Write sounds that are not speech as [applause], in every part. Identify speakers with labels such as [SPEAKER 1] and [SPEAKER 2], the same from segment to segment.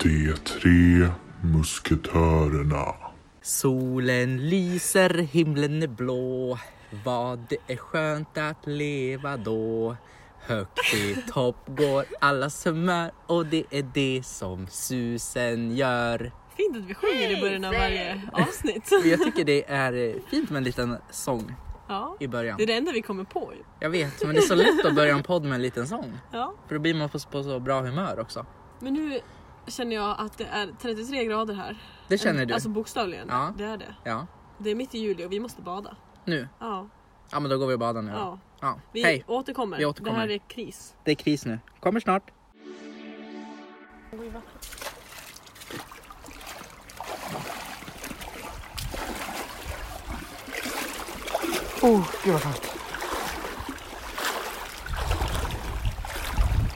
[SPEAKER 1] De tre musketörerna.
[SPEAKER 2] Solen lyser, himlen är blå. Vad det är skönt att leva då. Högt i topp går allas humör och det är det som susen gör.
[SPEAKER 3] Fint att vi sjunger i början av varje
[SPEAKER 2] [laughs]
[SPEAKER 3] avsnitt.
[SPEAKER 2] Jag tycker det är eh, fint med en liten sång
[SPEAKER 3] Ja.
[SPEAKER 2] i början.
[SPEAKER 3] Det är det enda vi kommer på ju.
[SPEAKER 2] Jag vet, men det är så lätt att börja en podd med en liten sång.
[SPEAKER 3] Ja.
[SPEAKER 2] För då blir man på på så bra humör också.
[SPEAKER 3] Men nu känner jag att det är 33 grader här.
[SPEAKER 2] Det känner du?
[SPEAKER 3] Alltså bokstavligen.
[SPEAKER 2] Ja.
[SPEAKER 3] Det är det.
[SPEAKER 2] Ja.
[SPEAKER 3] Det är mitt i juli och vi måste bada.
[SPEAKER 2] Nu?
[SPEAKER 3] Ja.
[SPEAKER 2] Ja men då går vi och badar nu då.
[SPEAKER 3] ja.
[SPEAKER 2] Ja.
[SPEAKER 3] Vi
[SPEAKER 2] Hej!
[SPEAKER 3] återkommer.
[SPEAKER 2] Vi återkommer.
[SPEAKER 3] Det här är kris.
[SPEAKER 2] Det är kris nu. Kommer snart.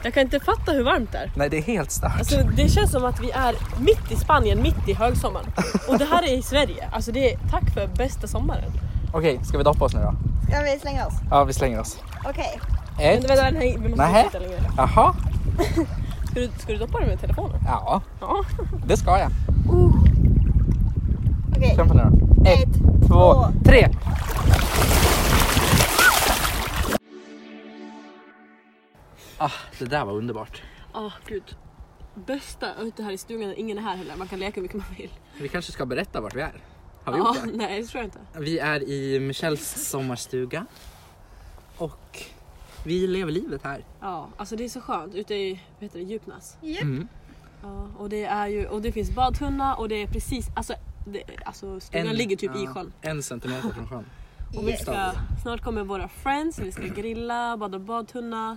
[SPEAKER 3] Jag kan inte fatta hur varmt det är.
[SPEAKER 2] Nej det är helt stört.
[SPEAKER 3] Alltså, det känns som att vi är mitt i Spanien, mitt i högsommaren.
[SPEAKER 2] [laughs]
[SPEAKER 3] Och det här är i Sverige. Alltså det är tack för bästa sommaren.
[SPEAKER 2] Okej, ska vi doppa oss nu då?
[SPEAKER 4] Ja, vi slänger oss.
[SPEAKER 2] Ja vi slänger oss.
[SPEAKER 4] Okej.
[SPEAKER 3] Men vänta, den här, vi måste
[SPEAKER 2] Nähä.
[SPEAKER 3] titta längre.
[SPEAKER 2] Jaha,
[SPEAKER 3] Ska du, ska du doppa den med telefonen?
[SPEAKER 2] ja
[SPEAKER 3] Ja.
[SPEAKER 2] [laughs] det ska jag. Uh.
[SPEAKER 4] Okej.
[SPEAKER 2] Kämpa nu då.
[SPEAKER 4] Ett,
[SPEAKER 2] två, tre! Ah, det där var underbart.
[SPEAKER 3] Ah, gud. Bästa ute här i stugan, ingen är här heller. Man kan leka hur mycket man vill.
[SPEAKER 2] Vi kanske ska berätta vart vi är. Har vi
[SPEAKER 3] Ja,
[SPEAKER 2] gjort
[SPEAKER 3] nej, det tror jag inte.
[SPEAKER 2] det? Vi är i Michelles sommarstuga. Och vi lever livet här.
[SPEAKER 3] Ja, alltså det är så skönt ute i vad heter det, Djupnäs.
[SPEAKER 2] Mm.
[SPEAKER 3] Ja, och det är ju, och det finns badtunna och det är precis, alltså, det, alltså stugan ligger typ i
[SPEAKER 2] ja,
[SPEAKER 3] sjön.
[SPEAKER 2] En centimeter från sjön.
[SPEAKER 3] Och vi
[SPEAKER 4] Yes.
[SPEAKER 3] ska, snart kommer våra friends, vi ska grilla, bada badtunna.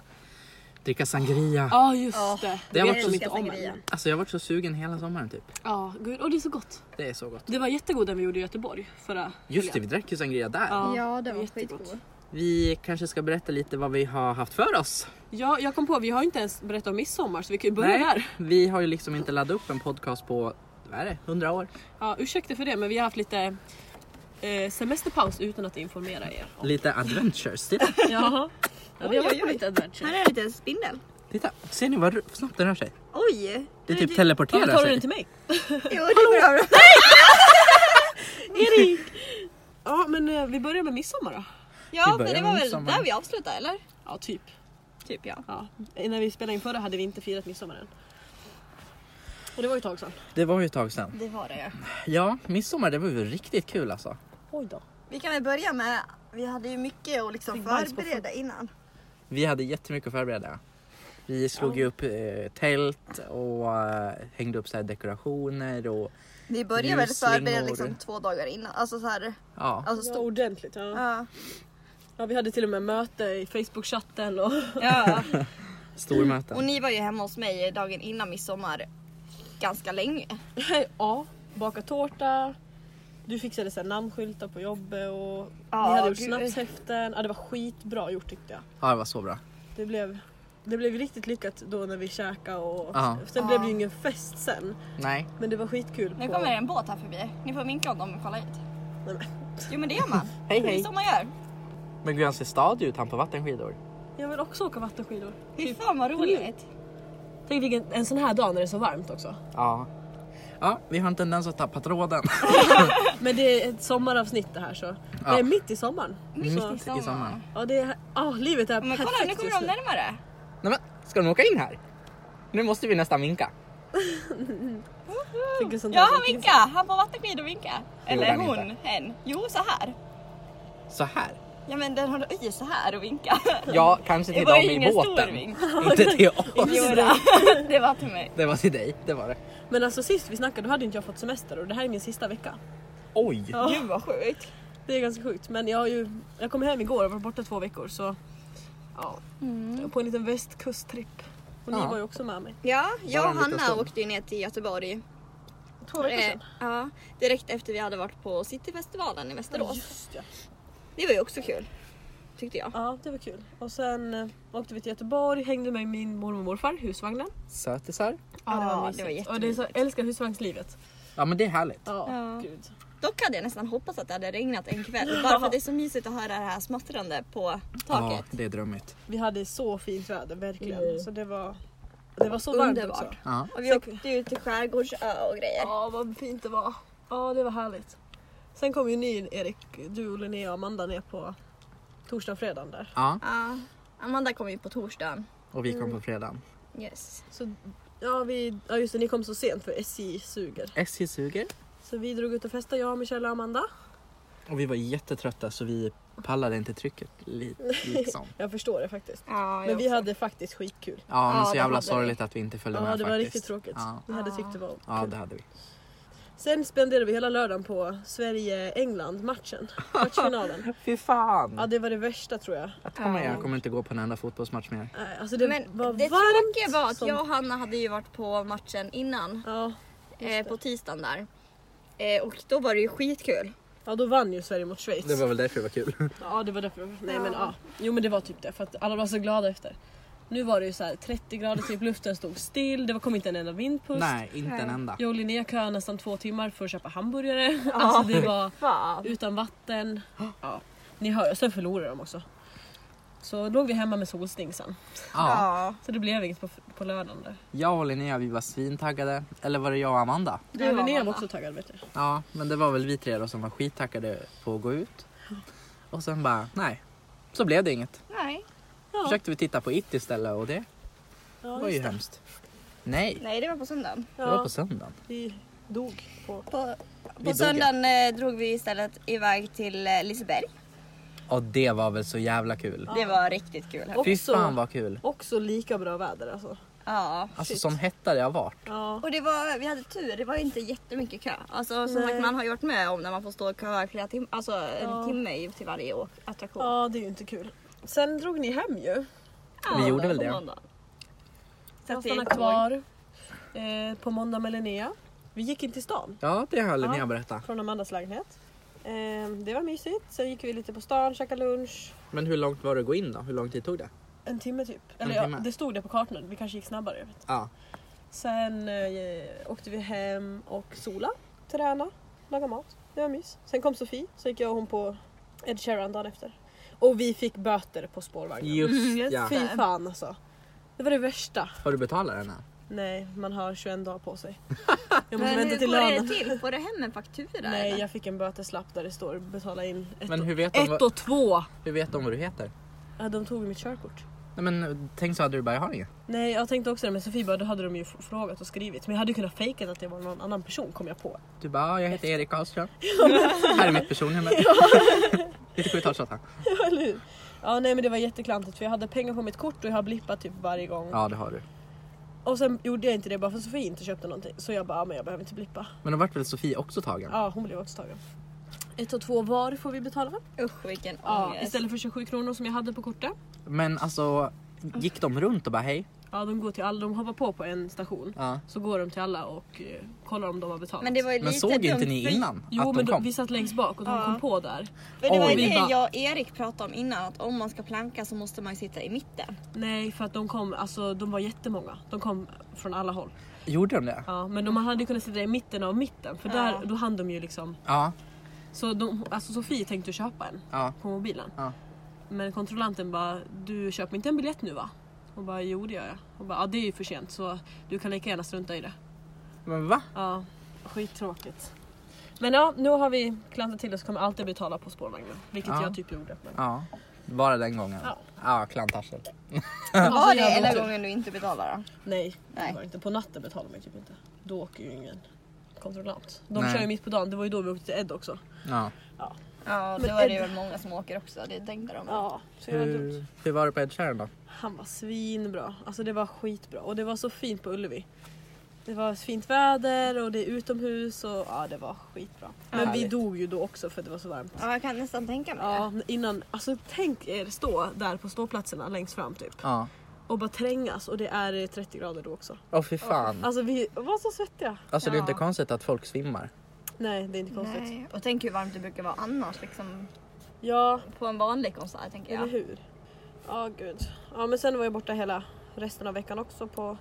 [SPEAKER 2] Dricka sangria.
[SPEAKER 3] Ja, just
[SPEAKER 4] Ja,
[SPEAKER 3] det.
[SPEAKER 2] det
[SPEAKER 3] Det
[SPEAKER 2] har
[SPEAKER 3] vet
[SPEAKER 2] varit
[SPEAKER 3] de
[SPEAKER 2] så-
[SPEAKER 3] inte om
[SPEAKER 4] sangria.
[SPEAKER 3] än.
[SPEAKER 2] Alltså jag har varit så sugen hela sommaren typ.
[SPEAKER 3] Ja, gud, och det är så gott.
[SPEAKER 2] Det är så gott.
[SPEAKER 3] Det var jättegod den vi gjorde i Göteborg förra
[SPEAKER 2] Just det,
[SPEAKER 3] helgen.
[SPEAKER 2] vi drack ju sangria där.
[SPEAKER 4] Ja, det var
[SPEAKER 3] jättegott.
[SPEAKER 4] skitgod.
[SPEAKER 2] Vi kanske ska berätta lite vad vi har haft för oss.
[SPEAKER 3] Ja, jag kom på, vi har ju inte ens berättat om midsommar så vi kan ju börja där.
[SPEAKER 2] Vi har ju liksom inte laddat upp en podcast på, vad är det, 100 år?
[SPEAKER 3] Ja, ursäkta för det, men vi har haft lite eh, semesterpaus utan att informera er.
[SPEAKER 2] Lite adventures.
[SPEAKER 3] [laughs]
[SPEAKER 2] Titta,
[SPEAKER 3] Ja, ja vi har
[SPEAKER 4] Oj,
[SPEAKER 3] varit
[SPEAKER 4] oj,
[SPEAKER 3] på
[SPEAKER 4] oj.
[SPEAKER 3] lite adventure.
[SPEAKER 4] Här är en liten [laughs] spindel.
[SPEAKER 2] titta. ser ni vad ru- snabbt den rör sig?
[SPEAKER 4] Oj!
[SPEAKER 2] Det
[SPEAKER 4] är
[SPEAKER 2] typ
[SPEAKER 4] Jo,
[SPEAKER 3] Varför
[SPEAKER 2] teleporterar
[SPEAKER 3] tar du den
[SPEAKER 2] sig.
[SPEAKER 3] till mig?
[SPEAKER 4] det är bra.
[SPEAKER 3] [laughs] Erik! [laughs] Ja, men eh, vi börjar med midsommar då.
[SPEAKER 4] Ja,
[SPEAKER 2] Vi
[SPEAKER 4] men
[SPEAKER 2] börjar
[SPEAKER 4] det var
[SPEAKER 2] med
[SPEAKER 4] väl
[SPEAKER 2] sommaren.
[SPEAKER 4] där vi avslutade, eller?
[SPEAKER 3] Ja, typ.
[SPEAKER 4] Typ ja.
[SPEAKER 3] Ja. När vi spelade in förra hade vi inte firat midsommar än. Och det var ju ett tag sedan.
[SPEAKER 2] Det var ju ett tag sedan.
[SPEAKER 4] Det var det ja.
[SPEAKER 2] Ja, midsommar det var ju riktigt kul alltså.
[SPEAKER 3] Oj då.
[SPEAKER 4] Vi kan väl börja med, vi hade ju mycket att liksom
[SPEAKER 3] Fick bajs på
[SPEAKER 4] förbereda innan.
[SPEAKER 2] Vi hade jättemycket att förbereda. Vi slog ju upp eh, tält och eh, hängde upp så här dekorationer och
[SPEAKER 4] Vi började väl
[SPEAKER 2] Ljusslingor.
[SPEAKER 4] förbereda liksom två dagar innan. Alltså så här,
[SPEAKER 2] ja.
[SPEAKER 4] alltså
[SPEAKER 3] Ja,
[SPEAKER 4] stort.
[SPEAKER 3] ordentligt. Ja.
[SPEAKER 4] Ja.
[SPEAKER 3] ja, vi hade till och med möte i Facebook-chatten och
[SPEAKER 4] [laughs] ja.
[SPEAKER 2] Stormöten.
[SPEAKER 4] Och ni var ju hemma hos mig dagen innan midsommar ganska länge.
[SPEAKER 3] ja, baka tårta. Du fixade så här namnskyltar på jobbet och
[SPEAKER 4] Ja,
[SPEAKER 3] vi hade gjort
[SPEAKER 4] gud.
[SPEAKER 3] snapshäften. Ja, det var skitbra gjort tyckte jag.
[SPEAKER 2] Ja, det var så bra.
[SPEAKER 3] Det blev, det blev riktigt lyckat då när vi käkade och
[SPEAKER 2] Ja.
[SPEAKER 3] sen blev det ju ingen fest sen.
[SPEAKER 2] Nej,
[SPEAKER 3] Men det var skitkul.
[SPEAKER 4] Nu
[SPEAKER 3] på-
[SPEAKER 4] kommer det en båt här förbi. Ni får vinka om dem och kolla hit.
[SPEAKER 3] Nej, men-
[SPEAKER 4] Jo men det gör man.
[SPEAKER 2] Hej,
[SPEAKER 4] Det
[SPEAKER 2] hej.
[SPEAKER 4] är så man gör.
[SPEAKER 2] men gud han ser stadig ut han på vattenskidor.
[SPEAKER 3] Jag vill också åka vattenskidor.
[SPEAKER 4] Fy fan vad roligt.
[SPEAKER 3] Tänk vilken en sån här dag när det är så varmt också.
[SPEAKER 2] Ja. Ja, vi har en tendens att tappa
[SPEAKER 4] [laughs]
[SPEAKER 2] tråden.
[SPEAKER 3] Men det är ett sommaravsnitt det här så. Det är mitt i sommaren. Så,
[SPEAKER 2] i sommaren.
[SPEAKER 3] ja, det är, ah, livet är
[SPEAKER 4] Men
[SPEAKER 3] perfekt
[SPEAKER 4] kolla nu kommer
[SPEAKER 3] just
[SPEAKER 4] de närmare.
[SPEAKER 2] Nej, men, ska de åka in här? Nu måste vi nästan vinka.
[SPEAKER 3] Tänk en sån
[SPEAKER 4] Ja
[SPEAKER 3] dag
[SPEAKER 4] han
[SPEAKER 3] som finns.
[SPEAKER 4] vinkar, han på vattenskidor vinkar. Eller
[SPEAKER 2] han
[SPEAKER 4] hon,
[SPEAKER 2] inte.
[SPEAKER 4] hen. Jo så här.
[SPEAKER 2] Så här.
[SPEAKER 4] Ja men den håller ju så här och vinkar.
[SPEAKER 2] Ja, kanske till
[SPEAKER 4] Det var
[SPEAKER 2] dem
[SPEAKER 4] ju
[SPEAKER 2] i
[SPEAKER 4] ingen stor
[SPEAKER 2] båten.
[SPEAKER 4] vink.
[SPEAKER 2] [laughs] Inte till oss.
[SPEAKER 4] [laughs] Jo, då. [laughs] det var till mig.
[SPEAKER 2] Det var till dig, det var det.
[SPEAKER 3] Men alltså sist vi snackade då hade inte jag fått semester och det här är min sista vecka.
[SPEAKER 2] Oj!
[SPEAKER 3] Ja.
[SPEAKER 4] Gud vad sjukt.
[SPEAKER 3] Det är ganska sjukt men jag, har ju, jag kom hem igår och var borta två veckor så ja, på en liten västkusttripp. Och ni
[SPEAKER 2] Ja.
[SPEAKER 3] var ju också med mig.
[SPEAKER 4] Ja, jag
[SPEAKER 2] Bara
[SPEAKER 4] och
[SPEAKER 2] en liten
[SPEAKER 4] Hanna
[SPEAKER 2] stund.
[SPEAKER 4] åkte ju ner till Göteborg.
[SPEAKER 3] Två veckor
[SPEAKER 4] Eh,
[SPEAKER 3] sedan.
[SPEAKER 4] ja, direkt efter vi hade varit på Cityfestivalen i Västerås.
[SPEAKER 3] Just ja.
[SPEAKER 4] Det var ju också kul. Tyckte jag.
[SPEAKER 3] ja det var kul. Och sen eh, åkte vi till Göteborg, hängde med min mormor och morfar, husvagnen.
[SPEAKER 2] Sötisar.
[SPEAKER 3] Ja, det
[SPEAKER 4] Ja,
[SPEAKER 3] var
[SPEAKER 4] det
[SPEAKER 3] mysigt.
[SPEAKER 4] var
[SPEAKER 3] och det är så, jag älskar husvagnslivet.
[SPEAKER 2] Ja men det är härligt.
[SPEAKER 3] Ja,
[SPEAKER 4] Ja.
[SPEAKER 3] gud.
[SPEAKER 4] Dock hade jag nästan hoppats att det hade regnat en [laughs] kväll. Bara för att det är så mysigt att höra det här smattrande på taket.
[SPEAKER 2] det är drömmigt.
[SPEAKER 3] Vi hade så fint väder, verkligen.
[SPEAKER 4] Mm.
[SPEAKER 3] Så det var Det var så varmt
[SPEAKER 4] Underbart.
[SPEAKER 3] också.
[SPEAKER 2] Ja.
[SPEAKER 4] Och vi åkte ju till skärgårdsö och grejer.
[SPEAKER 3] Ja, vad fint det var. Ja, det var härligt. Sen kom ju ni Erik, du, Linnea och Amanda ner på torsdag och fredag där.
[SPEAKER 2] ja.
[SPEAKER 4] Ja. Amanda kom ju på torsdagen.
[SPEAKER 2] Och vi kom
[SPEAKER 3] Mm.
[SPEAKER 2] på fredagen.
[SPEAKER 4] Yes.
[SPEAKER 3] Så, ja, vi, ja just det, ni kom så sent för SJ suger.
[SPEAKER 2] SJ suger.
[SPEAKER 3] Så vi drog ut och festade jag, Michelle och Amanda.
[SPEAKER 2] Och vi var jättetrötta så vi pallade inte trycket
[SPEAKER 3] [laughs]
[SPEAKER 2] li- liksom.
[SPEAKER 3] Jag förstår det faktiskt.
[SPEAKER 4] Ja,
[SPEAKER 3] Men vi hade faktiskt skitkul.
[SPEAKER 2] Ja men
[SPEAKER 4] Ja,
[SPEAKER 2] så
[SPEAKER 4] det
[SPEAKER 2] jävla
[SPEAKER 4] hade vi.
[SPEAKER 2] sorgligt att vi inte följde
[SPEAKER 3] Ja, det
[SPEAKER 2] med
[SPEAKER 3] var
[SPEAKER 2] faktiskt.
[SPEAKER 3] riktigt tråkigt.
[SPEAKER 2] Ja.
[SPEAKER 3] Vi hade tyckt det var
[SPEAKER 2] ja
[SPEAKER 3] kul.
[SPEAKER 2] det hade vi.
[SPEAKER 3] Sen spenderade vi hela lördagen på
[SPEAKER 2] [laughs]
[SPEAKER 3] Sverige-England-matchen. Matchfinalen.
[SPEAKER 2] Fy fan!
[SPEAKER 3] Ja, det var det värsta tror jag.
[SPEAKER 2] Att komma igen. Jag kommer inte gå på en enda fotbollsmatch mer.
[SPEAKER 3] Nej, Alltså det
[SPEAKER 4] Men
[SPEAKER 3] var
[SPEAKER 4] det
[SPEAKER 3] varmt.
[SPEAKER 4] tråkiga var att
[SPEAKER 3] som-
[SPEAKER 4] jag och Hanna hade ju varit på matchen innan.
[SPEAKER 3] Ja,
[SPEAKER 4] Eh, på tisdagen där. Eh, och då var det ju skitkul.
[SPEAKER 3] ja, då vann ju Sverige mot Schweiz.
[SPEAKER 2] Det var väl därför det var kul.
[SPEAKER 3] Ja, det var därför. Nej, men ja. Jo, men det var typ det. För att alla var så glada efter. Nu var det ju så här 30 grader, typ luften stod still. Det var- kom inte en enda vindpust.
[SPEAKER 2] Nej, inte en enda.
[SPEAKER 3] Jag och Linnea köade nästan två timmar för att köpa hamburgare. Alltså det var
[SPEAKER 4] Fan.
[SPEAKER 3] utan vatten. Ja, ni hör, sen förlorade de också. Så låg vi hemma med solsting sen.
[SPEAKER 2] Ja.
[SPEAKER 3] Så det blev inget på, på lördagen där.
[SPEAKER 2] Jag och Linnea vi var svintaggade. Eller var det jag och Amanda?
[SPEAKER 3] Du och
[SPEAKER 4] var
[SPEAKER 3] Linnea var
[SPEAKER 4] Amanda.
[SPEAKER 3] också taggad vet jag.
[SPEAKER 2] Ja, men det var väl vi tre då som var skittaggade på att gå ut. Och sen bara, nej. Så blev det inget.
[SPEAKER 4] Nej.
[SPEAKER 2] Försökte vi titta på It istället och det
[SPEAKER 3] Ja,
[SPEAKER 2] var ju
[SPEAKER 3] just det.
[SPEAKER 2] hemskt. Nej,
[SPEAKER 4] Nej, det var på söndagen.
[SPEAKER 2] det var
[SPEAKER 3] Ja,
[SPEAKER 2] på söndagen.
[SPEAKER 3] vi dog på...
[SPEAKER 4] På,
[SPEAKER 2] Vi
[SPEAKER 4] på
[SPEAKER 2] dog,
[SPEAKER 4] söndagen eh, drog vi istället iväg till eh, Liseberg.
[SPEAKER 2] Och det var väl så jävla kul.
[SPEAKER 4] Det var riktigt kul. hörni.
[SPEAKER 2] Fy
[SPEAKER 3] Också-
[SPEAKER 2] fan vad kul.
[SPEAKER 3] Också lika bra väder alltså.
[SPEAKER 4] Ja.
[SPEAKER 2] Alltså
[SPEAKER 3] Shit.
[SPEAKER 2] som hettare jag varit.
[SPEAKER 3] Ja,
[SPEAKER 4] Och det var, vi hade tur, det var inte jättemycket kö. Alltså som sagt man har ju varit med om när man får stå och köa i flera timmar, alltså en timme i- till varje å- attraktion.
[SPEAKER 3] ja det är ju inte kul. Sen drog ni hem ju.
[SPEAKER 2] Vi gjorde väl det.
[SPEAKER 3] Jag
[SPEAKER 4] vi
[SPEAKER 3] stannade
[SPEAKER 4] gick på
[SPEAKER 3] kvar eh, på måndag med Linnea. Vi gick in till stan
[SPEAKER 2] Ja, det har Linnea
[SPEAKER 3] Ja.
[SPEAKER 2] berättat.
[SPEAKER 3] från Amandas lägenhet. Eh, det var mysigt. Sen gick vi lite på stan, käkade lunch.
[SPEAKER 2] Men hur långt var det att gå in då? Hur lång tid tog det?
[SPEAKER 3] En timme typ.
[SPEAKER 2] En
[SPEAKER 3] Eller ja,
[SPEAKER 2] timme.
[SPEAKER 3] det stod det på kartan. Vi kanske gick snabbare. Jag vet. inte.
[SPEAKER 2] Ja.
[SPEAKER 3] Sen eh, åkte vi hem och sola, träna, laga mat. Det var mys. Sen kom Sofie, så gick jag och hon på Ed Sheeran dagen efter. Och vi fick böter på spårvagnen.
[SPEAKER 2] Just
[SPEAKER 4] just
[SPEAKER 2] ja.
[SPEAKER 4] det.
[SPEAKER 3] Fy fan alltså. Det var det värsta.
[SPEAKER 2] Har du betalat den här?
[SPEAKER 3] Nej, man har 21 dagar på sig. [laughs] Jag måste vänta
[SPEAKER 4] Men hur
[SPEAKER 3] till
[SPEAKER 4] går det
[SPEAKER 3] lönen.
[SPEAKER 4] till? Får du hem en faktura
[SPEAKER 3] Nej,
[SPEAKER 4] eller?
[SPEAKER 3] jag fick en böteslapp där det står betala in ett,
[SPEAKER 2] Men
[SPEAKER 3] och-
[SPEAKER 2] hur vet de
[SPEAKER 3] ett
[SPEAKER 2] vad-
[SPEAKER 3] och två.
[SPEAKER 2] Hur vet de vad du heter?
[SPEAKER 3] Ja, de tog mitt körkort.
[SPEAKER 2] Nej men tänk så hade du bara, jag har ingen.
[SPEAKER 3] Nej, jag tänkte också det, men Sofie bara, då hade de ju f- frågat och skrivit. Men jag hade ju kunnat fejkat att det var någon annan person kom jag på. [laughs]
[SPEAKER 2] Du bara, ja, jag heter Erik Karlström. här är mitt personnummer. [laughs] Lite 712
[SPEAKER 3] Eller hur? Ja, nej men det var jätteklantigt för jag hade pengar på mitt kort och jag har blippat typ varje gång.
[SPEAKER 2] Ja det har du.
[SPEAKER 3] Och sen gjorde jag inte det bara för att Sofie inte köpte någonting. Så jag bara, ja, men jag behöver inte blippa.
[SPEAKER 2] Men då vart väl Sofie också tagen?
[SPEAKER 3] Ja, hon blev också tagen. Ett och två var får vi betala va?
[SPEAKER 4] Usch vilken
[SPEAKER 3] Ja,
[SPEAKER 4] ångest.
[SPEAKER 3] istället för 27 kronor som jag hade på kortet.
[SPEAKER 2] Men alltså, gick de runt och bara hej?
[SPEAKER 3] Ja, de går till alla, de hoppar på på en station.
[SPEAKER 2] Ja.
[SPEAKER 3] Så går de till alla och eh, kollar om de har betalat.
[SPEAKER 4] Men det var ju
[SPEAKER 2] Men
[SPEAKER 4] lite
[SPEAKER 2] såg
[SPEAKER 4] dumt,
[SPEAKER 2] inte ni
[SPEAKER 4] för-
[SPEAKER 2] innan
[SPEAKER 3] Jo
[SPEAKER 2] att
[SPEAKER 3] men
[SPEAKER 2] de
[SPEAKER 3] de,
[SPEAKER 2] kom?
[SPEAKER 3] vi satt längst bak och de kom på där.
[SPEAKER 4] För det var ju
[SPEAKER 2] Oj.
[SPEAKER 4] det
[SPEAKER 3] Vi bara-
[SPEAKER 4] jag och Erik pratade om innan, att om man ska planka så måste man ju sitta i mitten.
[SPEAKER 3] Nej för att de kom, alltså de var jättemånga. De kom från alla håll.
[SPEAKER 2] Gjorde de det?
[SPEAKER 3] Ja, men de hade ju kunnat sitta i mitten av mitten för där, då hann de ju liksom.
[SPEAKER 2] Ja.
[SPEAKER 3] Så de, alltså Sofie tänkte ju köpa en
[SPEAKER 2] Ja.
[SPEAKER 3] på mobilen.
[SPEAKER 2] Ja.
[SPEAKER 3] Men kontrollanten bara, du köper inte en biljett nu va? Hon bara, jo det gör jag. Hon bara, ja det är ju för sent så du kan lika gärna strunta i det.
[SPEAKER 2] Men va?
[SPEAKER 3] Ja, skittråkigt. Men ja, nu har vi klantat till oss kommer alltid betala på spårvagnen. Vilket
[SPEAKER 2] Ja.
[SPEAKER 3] jag typ gjorde. Men...
[SPEAKER 2] Ja. Bara den gången?
[SPEAKER 3] Ja.
[SPEAKER 2] Ja, klantarsel.
[SPEAKER 4] Var det
[SPEAKER 3] Alltså, jävla
[SPEAKER 4] enda
[SPEAKER 3] otur.
[SPEAKER 4] gången du inte betalar då?
[SPEAKER 3] Nej,
[SPEAKER 4] Nej.
[SPEAKER 3] Det var inte. på natten betalar man ju typ inte. Då åker ju ingen kontrollant. De
[SPEAKER 2] Nej.
[SPEAKER 3] kör ju mitt på dagen, det var ju då vi åkte till Ed också.
[SPEAKER 2] Ja.
[SPEAKER 4] Ja,
[SPEAKER 3] Men
[SPEAKER 4] då är det ju
[SPEAKER 3] Ed-
[SPEAKER 4] väl många som åker också, det tänkte de.
[SPEAKER 3] Ja, så jävla dumt.
[SPEAKER 2] Hur, hur var det på Ed Sheeran då?
[SPEAKER 3] Han var svinbra. Alltså det var skitbra. Och det var så fint på Ullevi. Det var fint väder och det är utomhus och ja det var skitbra. Men vi
[SPEAKER 2] Härligt.
[SPEAKER 3] dog ju då också för att det var så varmt.
[SPEAKER 4] Ja, jag kan nästan tänka mig
[SPEAKER 3] Ja, innan, alltså tänk er stå där på ståplatserna längst fram typ
[SPEAKER 2] Ja.
[SPEAKER 3] och bara trängas och det är 30 grader då också.
[SPEAKER 2] Åh fy fan.
[SPEAKER 3] Alltså vi var så svettiga.
[SPEAKER 2] Alltså det är inte
[SPEAKER 4] Ja.
[SPEAKER 2] konstigt att folk svimmar.
[SPEAKER 3] Nej det är inte
[SPEAKER 4] det.
[SPEAKER 3] konstigt.
[SPEAKER 4] Nej. Och tänk hur varmt det brukar vara annars liksom
[SPEAKER 3] Ja,
[SPEAKER 4] på en vanlig konsert tänker
[SPEAKER 3] eller
[SPEAKER 4] jag.
[SPEAKER 3] hur? Ja gud. Ja men sen var jag borta hela resten av veckan också på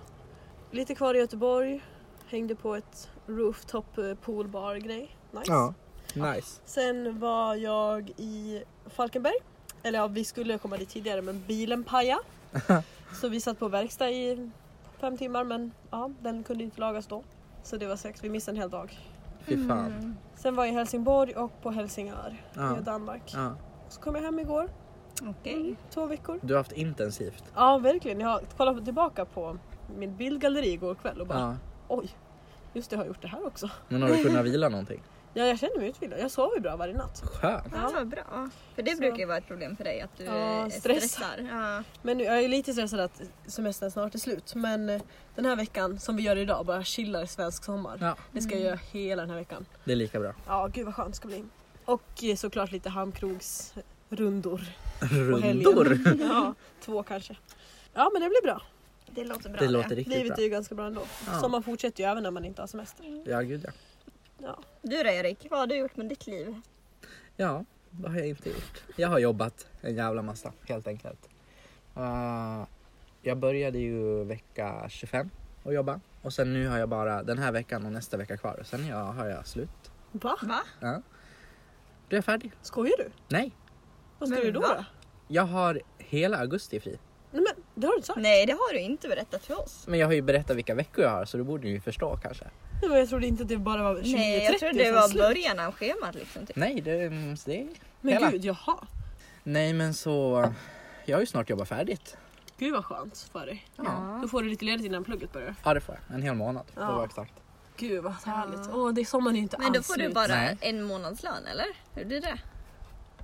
[SPEAKER 3] lite kvar i Göteborg. Hängde på ett rooftop eh, poolbar grej. Nice.
[SPEAKER 2] Nice.
[SPEAKER 3] Sen var jag i Falkenberg.
[SPEAKER 2] [laughs]
[SPEAKER 3] Eller ja, vi skulle komma dit tidigare men bilen pajade. så vi satt på verkstad i fem timmar men ja, den kunde inte lagas då. Så det var sex, vi missade en hel dag. Mm.
[SPEAKER 2] Fy fan.
[SPEAKER 3] Sen var jag i Helsingborg och på Helsingör
[SPEAKER 2] Ja.
[SPEAKER 3] i Danmark.
[SPEAKER 2] Ja.
[SPEAKER 3] Så kom jag hem igår,
[SPEAKER 4] Okej.
[SPEAKER 3] två veckor.
[SPEAKER 2] Du har haft intensivt.
[SPEAKER 3] Ja verkligen, jag har kollat tillbaka på min bildgalleri igår kväll och bara
[SPEAKER 2] Ja.
[SPEAKER 3] oj, just det jag har gjort det här också.
[SPEAKER 2] Men har du kunnat vila någonting?
[SPEAKER 3] Ja jag känner mig utvilad, jag sover bra varje natt.
[SPEAKER 2] Skönt.
[SPEAKER 4] Mm. Ja, vad bra. För det
[SPEAKER 3] Så.
[SPEAKER 4] brukar ju vara ett problem för dig att du
[SPEAKER 3] Ja,
[SPEAKER 4] eh,
[SPEAKER 3] stress.
[SPEAKER 4] stressar. Ja.
[SPEAKER 3] Men nu, jag är lite stressad att semestern snart är slut men eh, den här veckan som vi gör idag bara chillar i svensk sommar.
[SPEAKER 2] Ja,
[SPEAKER 3] Det ska jag
[SPEAKER 4] Mm.
[SPEAKER 3] göra hela den här veckan.
[SPEAKER 2] det är lika bra.
[SPEAKER 3] Ja gud vad skönt det ska bli. Och eh, såklart lite
[SPEAKER 4] [laughs]
[SPEAKER 3] hamnkrogsrundor. på helgen.
[SPEAKER 2] Rundor.
[SPEAKER 3] ja, två kanske. Ja men det blir bra.
[SPEAKER 4] Det låter bra
[SPEAKER 2] Det låter riktigt
[SPEAKER 3] Livet är
[SPEAKER 2] bra.
[SPEAKER 3] ju ganska bra ändå.
[SPEAKER 2] Ja.
[SPEAKER 3] Sommaren fortsätter ju även när man inte har semester.
[SPEAKER 4] Mm.
[SPEAKER 2] Ja, gud ja.
[SPEAKER 3] Ja.
[SPEAKER 4] Du då Erik, vad har du gjort med ditt liv?
[SPEAKER 2] Ja, vad har jag inte gjort? Jag har jobbat en jävla massa helt enkelt. Eh, jag började ju vecka 25 och jobba och sen nu har jag bara den här veckan och nästa vecka kvar och sen jag, har jag slut.
[SPEAKER 3] Va?
[SPEAKER 4] Va?
[SPEAKER 2] Ja. Du är jag färdig?
[SPEAKER 3] Skojar du?
[SPEAKER 2] Nej,
[SPEAKER 3] Vad ska
[SPEAKER 4] Men
[SPEAKER 3] du då?
[SPEAKER 4] va?
[SPEAKER 3] då?
[SPEAKER 2] jag har hela augusti fri.
[SPEAKER 3] Nej men det har du inte sagt.
[SPEAKER 4] Nej, det har du inte berättat för oss.
[SPEAKER 2] Men jag har ju berättat vilka veckor jag har så du borde ju förstå kanske.
[SPEAKER 3] Nej, men jag trodde inte att det bara var 20-30
[SPEAKER 4] Nej, jag trodde det
[SPEAKER 3] som
[SPEAKER 4] var
[SPEAKER 3] slut.
[SPEAKER 4] början av schemat liksom. Typ.
[SPEAKER 2] Nej, det, mm, det är
[SPEAKER 3] Men
[SPEAKER 2] hela.
[SPEAKER 3] gud, jaha.
[SPEAKER 2] Nej men så, jag har ju snart jobbat färdigt.
[SPEAKER 3] Gud vad skönt för dig.
[SPEAKER 2] Ja,
[SPEAKER 3] Då får du lite ledigt innan plugget börjar.
[SPEAKER 2] ja det får jag. En hel månad för att
[SPEAKER 3] Ja.
[SPEAKER 2] vara exakt.
[SPEAKER 3] Gud vad härligt. Åh, det sommaren är ju inte
[SPEAKER 4] Men då
[SPEAKER 3] alls
[SPEAKER 4] får du
[SPEAKER 3] slut.
[SPEAKER 4] bara
[SPEAKER 2] Nej.
[SPEAKER 4] en månadslön eller? Hur blir det?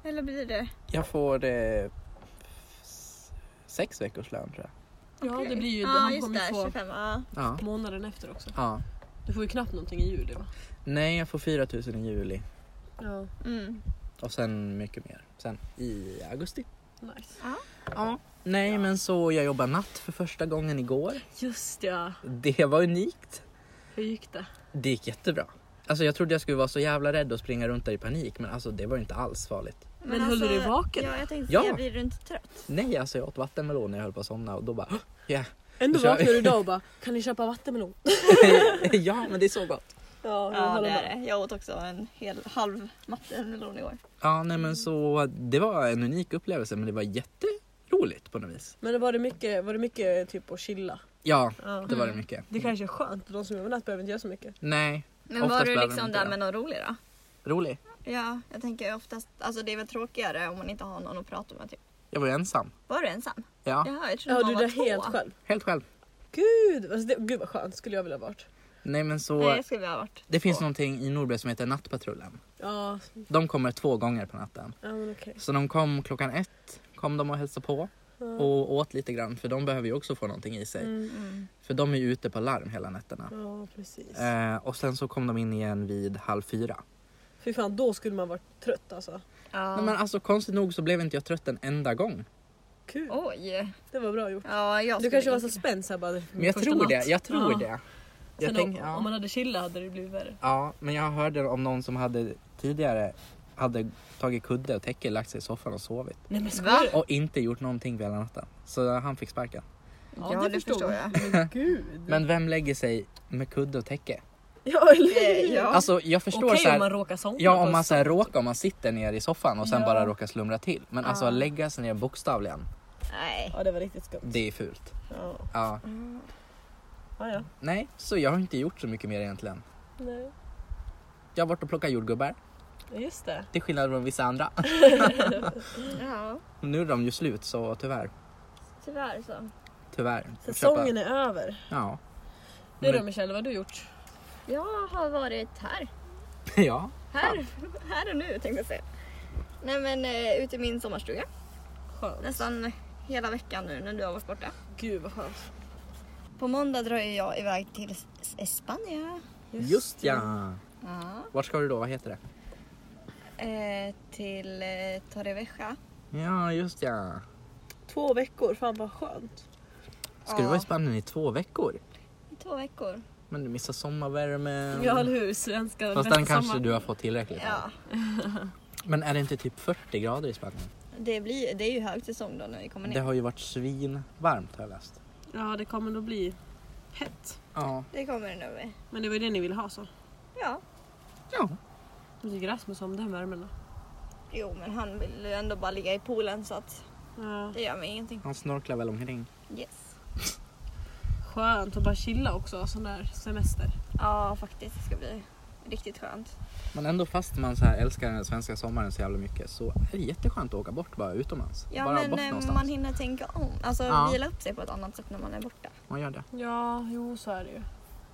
[SPEAKER 4] Eller blir det?
[SPEAKER 2] Jag får eh, s- sex veckors lön tror jag.
[SPEAKER 3] Ja, det blir ju...
[SPEAKER 4] Ja,
[SPEAKER 3] han
[SPEAKER 4] just
[SPEAKER 3] kommer
[SPEAKER 4] det.
[SPEAKER 3] ju få
[SPEAKER 4] 25. Ja.
[SPEAKER 2] Ja.
[SPEAKER 3] månaden efter också.
[SPEAKER 2] ja.
[SPEAKER 3] Du får ju knappt någonting i juli va?
[SPEAKER 2] Nej, jag får 4 000 i juli
[SPEAKER 3] Ja.
[SPEAKER 4] Mm.
[SPEAKER 2] och sen mycket mer. Sen i augusti.
[SPEAKER 3] Nice.
[SPEAKER 2] Ja. Nej, men så jag jobbar natt för första gången igår.
[SPEAKER 3] Just ja.
[SPEAKER 2] Det var unikt.
[SPEAKER 3] Hur gick det?
[SPEAKER 2] Det gick jättebra. Alltså jag trodde jag skulle vara så jävla rädd och springa runt där i panik men alltså det var ju inte alls farligt.
[SPEAKER 4] Men, alltså,
[SPEAKER 3] höll du dig vaken?
[SPEAKER 4] Ja, jag tänkte
[SPEAKER 2] Ja.
[SPEAKER 4] säga, blir du inte trött?
[SPEAKER 2] Nej alltså jag åt vattenmelon när jag höll på att somna och då bara ja, [laughs]
[SPEAKER 3] Ändå
[SPEAKER 2] Då kör
[SPEAKER 3] vaknar
[SPEAKER 2] vi.
[SPEAKER 3] du idag och bara, kan ni köpa [laughs] vattenmelon?
[SPEAKER 2] ja men det är så gott.
[SPEAKER 3] Ja, jag
[SPEAKER 4] Ja,
[SPEAKER 3] håller
[SPEAKER 4] det
[SPEAKER 3] med.
[SPEAKER 4] är det. Jag åt också en hel halv vattenmelon i år.
[SPEAKER 2] Ja nej men så det var en unik upplevelse men det var jätteroligt på något vis.
[SPEAKER 3] Men var det mycket, var det mycket typ att chilla?
[SPEAKER 2] Ja,
[SPEAKER 3] Ja.
[SPEAKER 2] det var det mycket.
[SPEAKER 3] Det kanske är skönt, de som jobbar natt behöver inte göra så mycket.
[SPEAKER 2] Nej,
[SPEAKER 4] Mm. Men
[SPEAKER 2] Oftast
[SPEAKER 4] var du
[SPEAKER 2] behöver de
[SPEAKER 4] liksom
[SPEAKER 2] inte
[SPEAKER 4] där
[SPEAKER 2] det.
[SPEAKER 4] med någon rolig då?
[SPEAKER 2] rolig.
[SPEAKER 4] Ja, jag tänker oftast, alltså det är väl tråkigare om man inte har någon att prata med. Typ.
[SPEAKER 2] Jag var ju ensam.
[SPEAKER 4] Var du ensam?
[SPEAKER 2] Ja,
[SPEAKER 4] Jaha, jag trodde
[SPEAKER 3] Ja,
[SPEAKER 4] man
[SPEAKER 3] du
[SPEAKER 4] var
[SPEAKER 3] där
[SPEAKER 4] två.
[SPEAKER 3] helt själv.
[SPEAKER 2] helt själv.
[SPEAKER 3] Gud, alltså det, gud vad skönt skulle jag vilja ha varit.
[SPEAKER 2] Nej men så.
[SPEAKER 4] Nej, jag skulle ha varit
[SPEAKER 2] det finns
[SPEAKER 4] två.
[SPEAKER 2] någonting i Norberg som heter Nattpatrullen.
[SPEAKER 3] Ja,
[SPEAKER 2] De kommer två gånger på natten.
[SPEAKER 3] ja men okej.
[SPEAKER 2] Så de kom klockan ett, kom de och hälsade på och åt lite grann för de behöver ju också få någonting i sig.
[SPEAKER 3] Mm.
[SPEAKER 4] Mm.
[SPEAKER 2] För de är ju ute på larm hela nätterna.
[SPEAKER 3] Ja precis.
[SPEAKER 2] Eh, och sen så kom de in igen vid halv fyra.
[SPEAKER 3] Fy fan, då skulle man varit trött alltså.
[SPEAKER 4] Ja.
[SPEAKER 2] Nej, men alltså konstigt nog så blev inte jag trött en enda gång.
[SPEAKER 3] Kul,
[SPEAKER 4] Oj.
[SPEAKER 3] det var bra gjort.
[SPEAKER 4] Ja, jag
[SPEAKER 3] Du
[SPEAKER 4] skulle
[SPEAKER 3] kanske var så
[SPEAKER 4] inte-
[SPEAKER 3] spänd såhär bara.
[SPEAKER 2] Men jag
[SPEAKER 3] första
[SPEAKER 2] tror
[SPEAKER 3] natt.
[SPEAKER 2] det, jag tror
[SPEAKER 3] Ja.
[SPEAKER 2] det. Jag
[SPEAKER 3] Sen
[SPEAKER 2] tänk,
[SPEAKER 3] om,
[SPEAKER 2] ja.
[SPEAKER 3] om man hade chillat hade det blivit värre.
[SPEAKER 2] Ja, men jag hörde om någon som hade tidigare hade tagit kudde och täcke, lagt sig i soffan och sovit.
[SPEAKER 3] Nej men
[SPEAKER 4] Va?
[SPEAKER 3] skojar
[SPEAKER 2] Och inte gjort någonting på hela natten. Så han fick sparken.
[SPEAKER 4] Ja, det förstår jag.
[SPEAKER 3] Men gud.
[SPEAKER 2] Mm. Men vem lägger sig med kudde och täcke?
[SPEAKER 3] [laughs] Ja, eller
[SPEAKER 4] Eh, Ja.
[SPEAKER 2] Alltså jag förstår
[SPEAKER 3] Okej
[SPEAKER 2] så här,
[SPEAKER 3] om man råkar somna.
[SPEAKER 2] Ja om man
[SPEAKER 3] fast-
[SPEAKER 2] så här råkar, om man sitter ner i soffan och sen
[SPEAKER 3] Ja.
[SPEAKER 2] bara råkar slumra till. Men alltså
[SPEAKER 4] Ja.
[SPEAKER 2] att lägga sig ner bokstavligen,
[SPEAKER 4] Nej.
[SPEAKER 3] Ja det var riktigt skumt.
[SPEAKER 2] det är fult.
[SPEAKER 3] Ja.
[SPEAKER 2] Ja.
[SPEAKER 3] Ja, ja.
[SPEAKER 2] Nej, så jag har inte gjort så mycket mer egentligen.
[SPEAKER 3] Nej.
[SPEAKER 2] Jag har varit och plockat jordgubbar,
[SPEAKER 3] Ja, Just det.
[SPEAKER 2] till skillnad från vissa andra. [laughs]
[SPEAKER 4] Ja,
[SPEAKER 2] Nu är de ju slut så tyvärr.
[SPEAKER 4] tyvärr så.
[SPEAKER 2] Tyvärr. Får
[SPEAKER 3] Säsongen
[SPEAKER 2] köpa-
[SPEAKER 3] är över.
[SPEAKER 2] Ja.
[SPEAKER 3] Du
[SPEAKER 2] Men-
[SPEAKER 3] då Michelle, vad har du gjort?
[SPEAKER 4] Jag har varit här.
[SPEAKER 2] [laughs] Ja.
[SPEAKER 4] Här, här och nu tänkte jag säga. Nej men eh, ute i min sommarstuga.
[SPEAKER 3] Skönt.
[SPEAKER 4] Nästan hela veckan nu när du har varit borta.
[SPEAKER 3] Gud vad skönt.
[SPEAKER 4] På måndag drar ju jag iväg till S- S- Spanien.
[SPEAKER 2] Just ja.
[SPEAKER 4] Ja.
[SPEAKER 2] Vart ska du då? Vad heter det?
[SPEAKER 4] Eh, till eh, Torrevieja.
[SPEAKER 2] Ja, just ja.
[SPEAKER 3] Två veckor, fan vad skönt.
[SPEAKER 2] Ska du vara i Spanien i två veckor?
[SPEAKER 4] I två veckor.
[SPEAKER 2] Men du missar sommarvärmen.
[SPEAKER 3] Ja eller hur, svenska
[SPEAKER 2] Fast den kanske du har fått tillräckligt av.
[SPEAKER 4] Ja.
[SPEAKER 2] Men är det inte typ 40 grader i Spanien?
[SPEAKER 4] Det, blir, det är ju högsäsong då när vi kommer ner.
[SPEAKER 2] Det har ju varit svinvarmt har jag läst.
[SPEAKER 3] Ja det kommer nog bli hett.
[SPEAKER 2] Ja.
[SPEAKER 4] Det kommer det nog bli.
[SPEAKER 3] Men det var ju det ni ville ha så.
[SPEAKER 4] Ja.
[SPEAKER 2] Ja.
[SPEAKER 3] Jag tycker Rasmus om den värmen då.
[SPEAKER 4] Jo men han vill ju ändå bara ligga i poolen så att
[SPEAKER 3] Ja.
[SPEAKER 4] det gör mig ingenting.
[SPEAKER 2] Han snorklar väl omkring.
[SPEAKER 4] Yes.
[SPEAKER 3] skönt att bara chilla också sån där semester.
[SPEAKER 4] Ja, faktiskt. Det ska bli riktigt skönt.
[SPEAKER 2] Men ändå fast man så här älskar den svenska sommaren så jävla mycket så är det jätteskönt att åka bort bara utomlands.
[SPEAKER 4] Ja,
[SPEAKER 2] bara
[SPEAKER 4] men
[SPEAKER 2] bort
[SPEAKER 4] eh,
[SPEAKER 2] någonstans.
[SPEAKER 4] man hinner tänka om. Alltså
[SPEAKER 2] Ja.
[SPEAKER 4] vila upp sig på ett annat sätt när man är borta.
[SPEAKER 2] Man gör det.
[SPEAKER 3] Ja, jo så är det ju.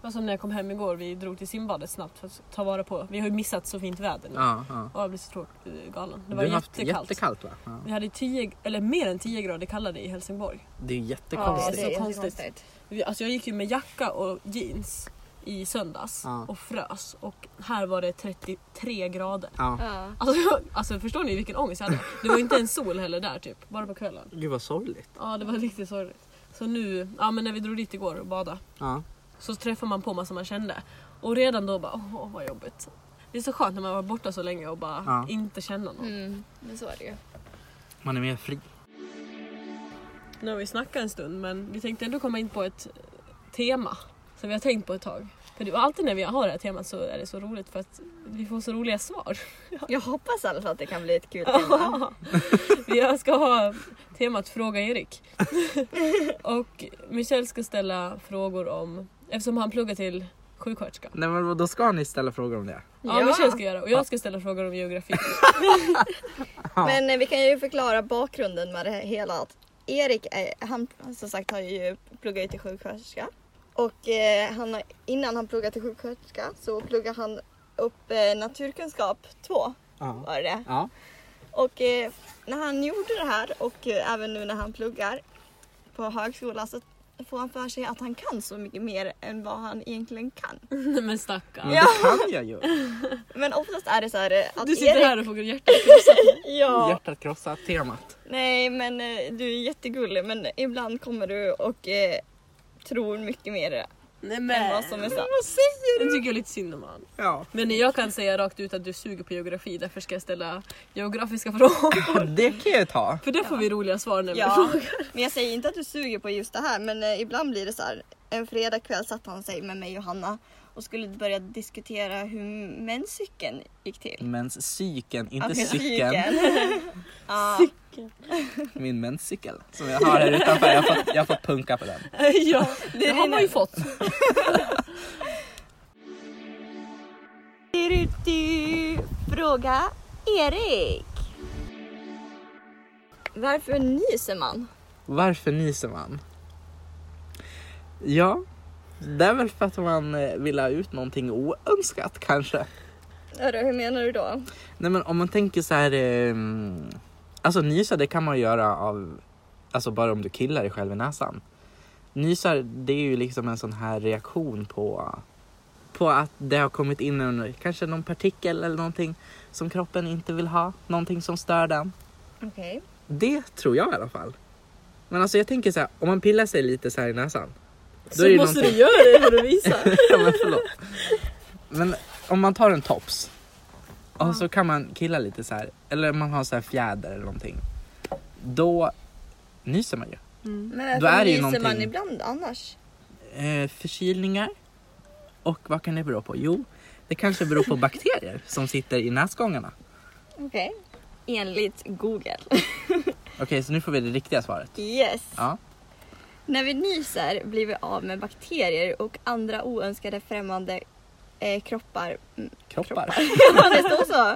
[SPEAKER 3] Men som när jag kom hem igår, vi drog till simbadet snabbt för att ta vara på, vi har ju missat så fint väder nu.
[SPEAKER 2] Ja, ja.
[SPEAKER 3] Och jag blev så tråkigt eh, galen. Det
[SPEAKER 2] Du
[SPEAKER 3] var
[SPEAKER 2] har haft
[SPEAKER 3] jättekallt.
[SPEAKER 2] jättekallt va? Ja.
[SPEAKER 3] Vi hade 10, eller mer än 10 grader kallare i Helsingborg.
[SPEAKER 2] Det är
[SPEAKER 3] det
[SPEAKER 2] jättekonstigt.
[SPEAKER 3] är Vi- Alltså jag gick ju med jacka och jeans i söndags
[SPEAKER 2] Ja.
[SPEAKER 3] och frös och här var det 33 grader.
[SPEAKER 2] Ja.
[SPEAKER 4] Ja.
[SPEAKER 3] Alltså, [laughs] jag, alltså förstår ni vilken ångest jag hade? Det var ju inte en sol heller där typ, bara på kvällen.
[SPEAKER 2] Gud vad sorgligt.
[SPEAKER 3] Ja det var riktigt sorgligt. Så nu, ja men när vi drog dit igår och badade
[SPEAKER 2] Ja.
[SPEAKER 3] så träffade man på massa man kände. Och redan då bara, åh vad jobbigt. Det är så skönt när man var borta så länge och bara
[SPEAKER 2] Ja.
[SPEAKER 3] inte känna någon.
[SPEAKER 4] Mm, men så är det ju.
[SPEAKER 2] Man är mer fri.
[SPEAKER 3] Nu har vi snackat en stund men vi tänkte ändå komma in på ett tema som vi har tänkt på ett tag. För det, och alltid när vi har det här temat så är det så roligt för att vi får så roliga svar.
[SPEAKER 4] Jag hoppas i alla fall att det kan bli ett kul tema.
[SPEAKER 3] [laughs] Jag ska ha temat Fråga [laughs] Erik. och Michel ska ställa frågor om, eftersom han pluggar till sjuksköterska.
[SPEAKER 2] Nej men då ska ni ställa frågor om det.
[SPEAKER 3] Ja,
[SPEAKER 4] Ja.
[SPEAKER 3] Michel ska göra och jag ska ställa frågor om geografi.
[SPEAKER 4] Men eh, vi kan ju förklara bakgrunden med det här hela. Att Erik är, han som sagt har ju pluggat ju till sjuksköterska. Och eh, han har, innan han pluggade till sjuksköterska så pluggade han upp eh, naturkunskap 2
[SPEAKER 2] Ja.
[SPEAKER 4] var det.
[SPEAKER 2] Ja.
[SPEAKER 4] Och eh, när han gjorde det här och eh, även nu när han pluggar på högskola så får han för sig att han kan så mycket mer än vad han egentligen kan.
[SPEAKER 3] [laughs] Nej men stackarn.
[SPEAKER 2] Men det kan jag ju.
[SPEAKER 4] Men oftast är det så här eh, att
[SPEAKER 3] Du sitter
[SPEAKER 4] Erik-
[SPEAKER 3] här och får hjärtat krossat.
[SPEAKER 4] Ja.
[SPEAKER 2] Hjärtat krossat temat.
[SPEAKER 4] Nej, men eh, du är jättegullig men ibland kommer du och eh, tror mycket mer
[SPEAKER 3] [laughs] Nej
[SPEAKER 4] än vad som är sant.
[SPEAKER 3] Det tycker jag är lite synd om han.
[SPEAKER 2] Ja.
[SPEAKER 3] Men jag kan säga rakt ut att du suger på geografi därför ska jag ställa geografiska frågor. [laughs]
[SPEAKER 2] Det kan jag ju ta.
[SPEAKER 3] För det får vi roliga svar när vi [laughs]
[SPEAKER 4] Ja, [laughs] men jag säger inte att du suger på just det här men eh, ibland blir det så här. En fredagkväll satt han sig med mig och Hanna och skulle börja diskutera hur menscykeln gick till.
[SPEAKER 2] Menscykeln, inte
[SPEAKER 4] Okej,
[SPEAKER 2] cykeln. [laughs]
[SPEAKER 4] ja.
[SPEAKER 2] Min menscykel som jag har här utanför. Jag har fått, jag har fått punka på den.
[SPEAKER 3] ja, det har man ju fått.
[SPEAKER 4] Du, du, Fråga Erik. Varför nyser man?
[SPEAKER 2] Varför nyser man? Ja, det är väl för att man eh, vill ha ut någonting oönskat kanske.
[SPEAKER 4] Hörru, hur menar du då?
[SPEAKER 2] Nej men om man tänker så här. Eh, alltså nysa det kan man göra av, alltså bara om du killar dig själv i näsan. Nysar det är ju liksom en sån här reaktion på, på att det har kommit in en, kanske någon partikel eller någonting som kroppen inte vill ha. Någonting som stör den.
[SPEAKER 4] Okej.
[SPEAKER 2] Det tror jag i alla fall. Men alltså jag tänker så här, om man pillar sig lite så här i näsan.
[SPEAKER 3] Så
[SPEAKER 2] är det
[SPEAKER 3] måste
[SPEAKER 2] någonting-
[SPEAKER 3] du göra det för att visa.
[SPEAKER 2] ja, men förlåt. [laughs] Men om man tar en tops och så kan man killa lite så här, eller man har så här fjäder eller någonting. Då nyser man ju.
[SPEAKER 4] Men varför
[SPEAKER 2] Då är det ju
[SPEAKER 4] nyser man
[SPEAKER 2] någonting-
[SPEAKER 4] ibland annars?
[SPEAKER 2] Eh, förkylningar. Och vad kan det bero på? Jo, det kanske beror på bakterier som sitter i näsgångarna.
[SPEAKER 4] Okej. Enligt Google.
[SPEAKER 2] Okej, så nu får vi det riktiga svaret.
[SPEAKER 4] Yes.
[SPEAKER 2] Ja.
[SPEAKER 4] När vi nyser blir vi av med bakterier och andra oönskade främmande eh, kroppar. Mm,
[SPEAKER 2] Kroppar.
[SPEAKER 4] [laughs] Ja, det står så.